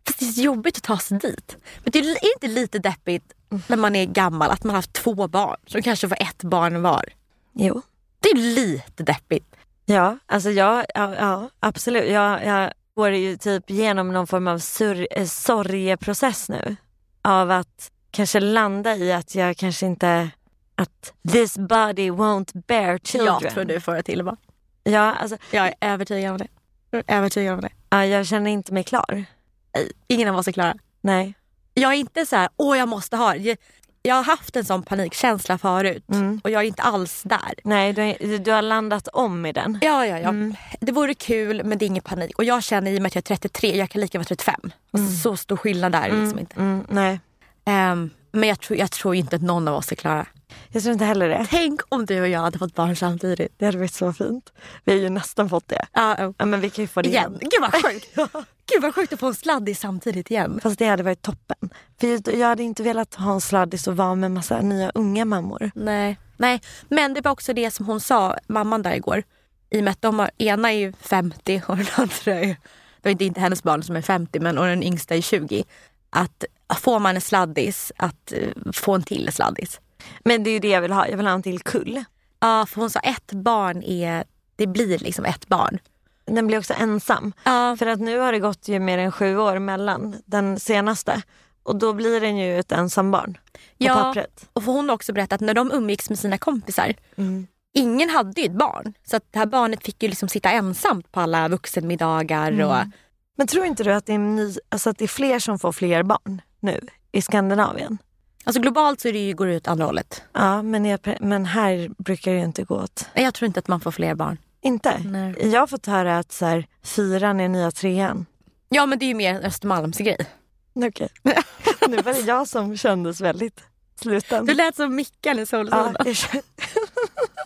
C: Fast det är så jobbigt att ta sig dit. Men det är det inte lite deppigt när man är gammal att man har haft två barn som kanske var ett barn var?
B: Jo.
C: Det är lite deppigt.
B: Ja, alltså jag, ja, ja absolut. Jag, jag går ju typ genom någon form av sur- eh, sorgeprocess nu. Av att kanske landa i att jag kanske inte... Att this body won't bear children.
C: Jag tror du får det till va?
B: Ja, alltså,
C: Jag är övertygad om det. Jag är övertygad om det.
B: ja, jag känner inte mig klar.
C: Ingen av oss är klara.
B: Nej.
C: Jag är inte så här, åh jag måste ha det. Jag har haft en sån panikkänsla förut
B: Mm.
C: och jag är inte alls där.
B: Nej, du, du har landat om i den.
C: Ja, ja, ja.
B: Mm.
C: Det vore kul men det är ingen panik. Och jag känner i och med att jag är 33, jag kan lika gärna vara 35. Alltså, Så stor skillnad där är det liksom inte.
B: Mm, nej,
C: Ehm, men jag tror, jag tror inte att någon av oss är klara.
B: jag tror inte heller det.
C: Tänk om du och jag hade fått barn samtidigt.
B: Det hade varit så fint. Vi har ju nästan fått det.
C: Ja, ja.
B: Ja, men vi kan ju få det
C: igen.
B: igen.
C: Gud vad sjukt. Gud vad sjukt att få en sladdis samtidigt igen.
B: Fast det hade varit toppen. För jag- jag hade inte velat ha en sladdis och vara med massa nya unga mammor.
C: Nej. Nej. Men det var också det som hon sa, mamman där igår. I och med att de har, ena är ju 50 och den andra är, det är inte- inte hennes barn som är 50 men och den yngsta är 20. Att får man en sladdis, att eh, få en till sladdis.
B: Men det är ju det jag vill ha. Jag vill ha en till kull.
C: Ja, för hon sa ett barn är, det blir liksom ett barn.
B: Den blir också ensam.
C: Ja.
B: För att nu har det gått ju mer än sju år mellan den senaste. Och då blir den ju ett ensam barn. På
C: Ja.
B: pappret. Mm.
C: Och för hon har också berättat att när de umgicks med sina kompisar, ingen hade ju ett barn. Så att det här barnet fick ju liksom sitta ensamt på alla vuxenmiddagar. Och,
B: Mm. Men tror inte du att det, är en ny, alltså att det är fler som får fler barn nu i Skandinavien?
C: alltså globalt så är det ju, går det ut andra hållet.
B: Ja, men, jag, men här brukar det ju inte gå åt.
C: Nej, Jag tror inte att man får fler barn.
B: Inte?
C: Nej.
B: Jag har fått höra att så här, fyran är nya trean.
C: Ja men det är ju mer en Östermalmsgrej.
B: Okej. nu var det jag som kändes väldigt sluten.
C: Du lät som Mikael i
B: Ja,
C: Solsidan.
B: jag kän-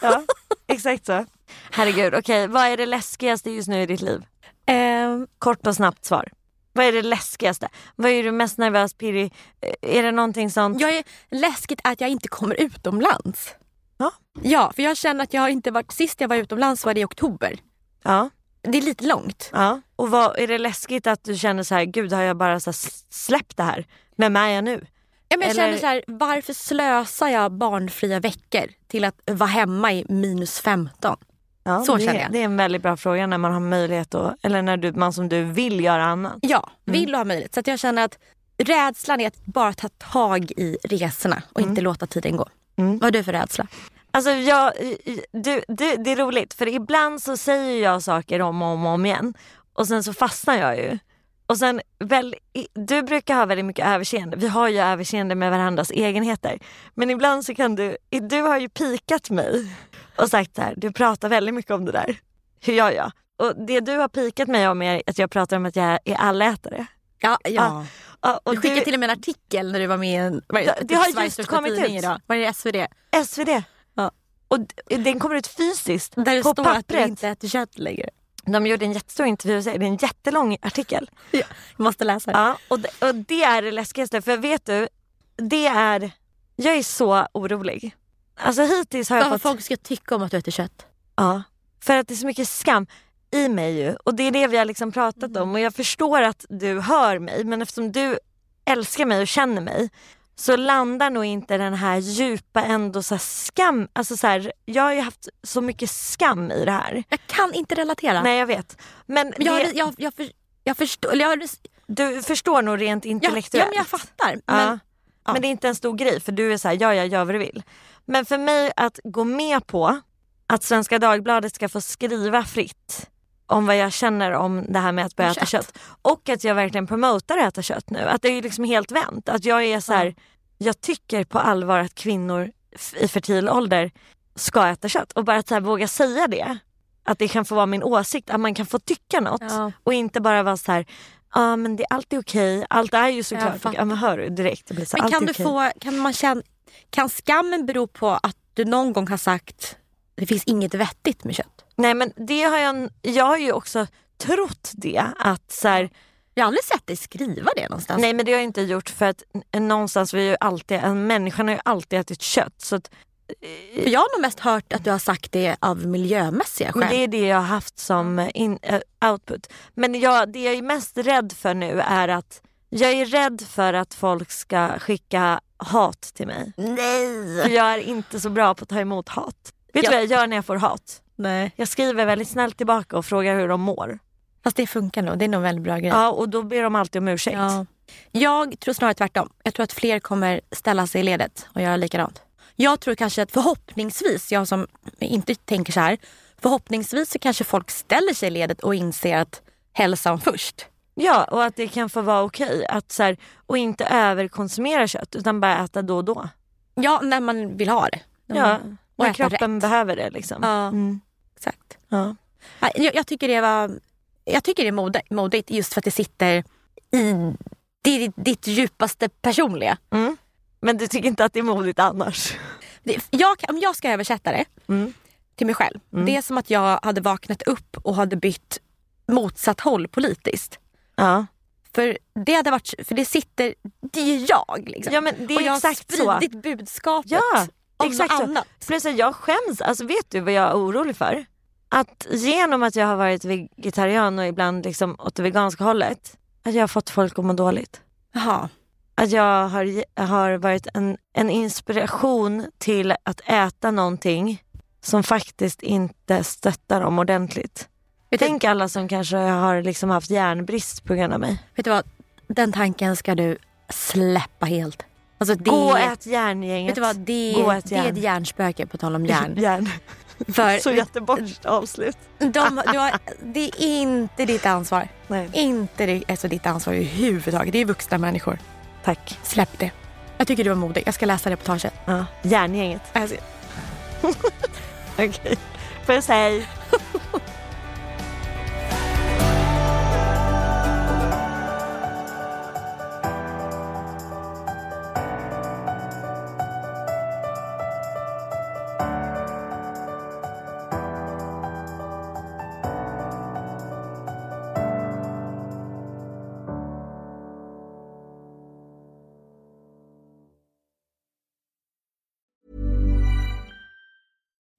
B: ja, exakt så. Herregud, okej. Vad är det läskigaste just nu i ditt liv?
C: Ehm,
B: Kort och snabbt svar. Vad är det läskigaste? Vad är du mest nervös, Piri? Eh, Är det någonting sånt?
C: jag är läskigt att jag inte kommer utomlands.
B: Ja.
C: Ja, för jag känner att jag har inte varit... Sist jag var utomlands var det i oktober.
B: Ja.
C: Det är lite långt.
B: ja. Och vad, är det läskigt att du känner så här, gud har jag bara så här, s- släppt det här? Vem är jag nu?
C: Ja, men jag
B: Eller-
C: känner så här, varför slösar jag barnfria veckor till att vara hemma i minus 15?
B: Ja,
C: Så
B: det,
C: känner jag.
B: Det är en väldigt bra fråga när man har möjlighet att, eller när du, man som du vill göra annat.
C: Ja, vill och ha möjlighet. Så att jag känner att rädslan är att bara ta tag i resorna och inte låta tiden gå. Vad har du för rädsla?
B: Alltså jag, du, du, det är roligt för ibland så säger jag saker om och om, och om igen och sen så fastnar jag ju. Och sen, väl, i- du brukar ha väldigt mycket överseende, vi har ju överseende med varandras egenheter. Men ibland så kan du, i- du har ju pikat mig och sagt så här, du pratar väldigt mycket om det där. Hur gör jag? Och det du har pikat mig om är att jag pratar om att jag är allätare.
C: Ja, ja.
B: Ja. Ja, och
C: Du skickade
B: du-
C: till och med en artikel när du var med i en... vad är
B: Ja, det har
C: Sveriges
B: just
C: största
B: kommit
C: tidning
B: ut.
C: Idag. Var det SvD?
B: SvD.
C: Ja.
B: Och d- den kommer ut fysiskt
C: Där det
B: på
C: står
B: pappret.
C: att du inte äter kött längre.
B: De gjorde en jättestor intervju och säger det är en jättelång artikel.
C: Ja. Jag måste läsa det.
B: Ja, och, det, och det är det läskigaste för vet du, det är, jag är så orolig. Alltså hittills har jag
C: Varför
B: fått,
C: folk ska tycka om att du äter kött.
B: ja, för att det är så mycket skam i mig ju och det är det vi har liksom pratat
C: Mm.
B: om och jag förstår att du hör mig men eftersom du älskar mig och känner mig så landar nog inte den här djupa ändå så här skam, alltså så här, jag har ju haft så mycket skam i det här.
C: Jag kan inte relatera.
B: Nej jag vet. Men,
C: Men jag, har-
B: det,
C: jag, jag, för, jag förstår... Eller jag, har-
B: du förstår nog rent
C: ja,
B: intellektuellt.
C: ja, men jag fattar.
B: Ja.
C: Men,
B: Men, det är inte en stor grej för du är så här, ja jag gör vad du vill. Men för mig att gå med på att Svenska Dagbladet ska få skriva fritt om vad jag känner om det här med att börja äta
C: Kött.
B: kött. Och att jag verkligen promotar att äta kött nu. Att det är ju liksom helt vänt. Att jag är så här, jag tycker på allvar att kvinnor f- i fertil ålder ska äta kött. Och bara att så här, våga säga det. Att det kan få vara min åsikt, att man kan få tycka något.
C: Ja.
B: Och inte bara vara så här, ja men det är alltid okej, allt är ju såklart
C: Jag fattar.
B: Ja, men hör du direkt, det blir så här,
C: Men kan,
B: allt
C: du
B: är okej.
C: få, kan, man känna, kan skammen bero på att du någon gång har sagt det finns inget vettigt med kött?
B: Nej men det har jag, jag har ju också trott det att så här,
C: Jag har aldrig sett dig skriva det någonstans.
B: nej men det har jag inte gjort för att n- någonstans vi är ju alltid, en människan har ju alltid ätit kött så att,
C: För jag har nog mest hört att du har sagt det av miljömässiga skäl.
B: men det är det jag har haft som eh, in, eh, output. Men jag, det jag är mest rädd för nu är att jag är rädd för att folk ska skicka hat till mig. För
C: Nej!
B: jag är inte så bra på att ta emot hat. Vet
C: Ja.
B: du vad jag gör när jag får hat?
C: nej.
B: Jag skriver väldigt snällt tillbaka och frågar hur de mår.
C: Fast det funkar nog. Det är nog en väldigt bra grej.
B: Ja, och då ber de alltid om ursäkt.
C: Ja. Jag tror snarare tvärtom. Jag tror att fler kommer ställa sig i ledet och göra likadant. Jag tror kanske att förhoppningsvis, jag som inte tänker så här, förhoppningsvis så kanske folk ställer sig i ledet och inser att hälsan först.
B: Ja, och att det kan få vara okej. Att så här, och inte överkonsumera kött utan bara äta då och då.
C: Ja, när man vill ha det. När
B: Ja,
C: man- och
B: när
C: äta
B: kroppen
C: rätt.
B: behöver det liksom.
C: Ja,
B: Mm.
C: exakt.
B: Ja.
C: Ja, Jag, jag tycker det var jag tycker det är mode- modigt just för att det sitter i ditt, ditt djupaste personliga.
B: Men du tycker inte att det är modigt annars?
C: Det, jag, kan- om jag ska översätta det
B: Mm.
C: till mig själv. Det är som att jag hade vaknat upp och hade bytt motsatt håll politiskt.
B: Ja.
C: För det, hade varit, för det sitter, det är ju jag liksom.
B: Ja, men det är
C: och jag
B: exakt så.
C: har spridit budskapet
B: Ja,
C: om
B: exakt
C: något
B: så.
C: annat.
B: Plus att jag skäms, alltså vet du vad jag är orolig för? Att genom att jag har varit vegetarian och ibland liksom åt det veganska hållet, att jag har fått folk att må dåligt.
C: Jaha.
B: Att jag har, ge- har varit en, en inspiration till att äta någonting som faktiskt inte stöttar dem ordentligt.
C: Vet,
B: Tänk alla som kanske har liksom haft järnbrist på grund av mig.
C: du, vet du vad, den tanken ska du släppa helt. Alltså, det,
B: Gå och ät järngänget.
C: Vet du vad, det,
B: Gå och ät
C: det är ett hjärnspöke på tal om hjärn.
B: järn.
C: För
B: Så jättebort avslut.
C: de, du har, det är inte ditt ansvar.
B: Nej.
C: Inte det, alltså ditt ansvar överhuvudtaget. Det är vuxna människor.
B: Tack.
C: Släpp det. Jag tycker du var modig. Jag ska läsa reportaget.
B: Ja. Järngänget.
C: Alltså,
B: Okej. Puss hej.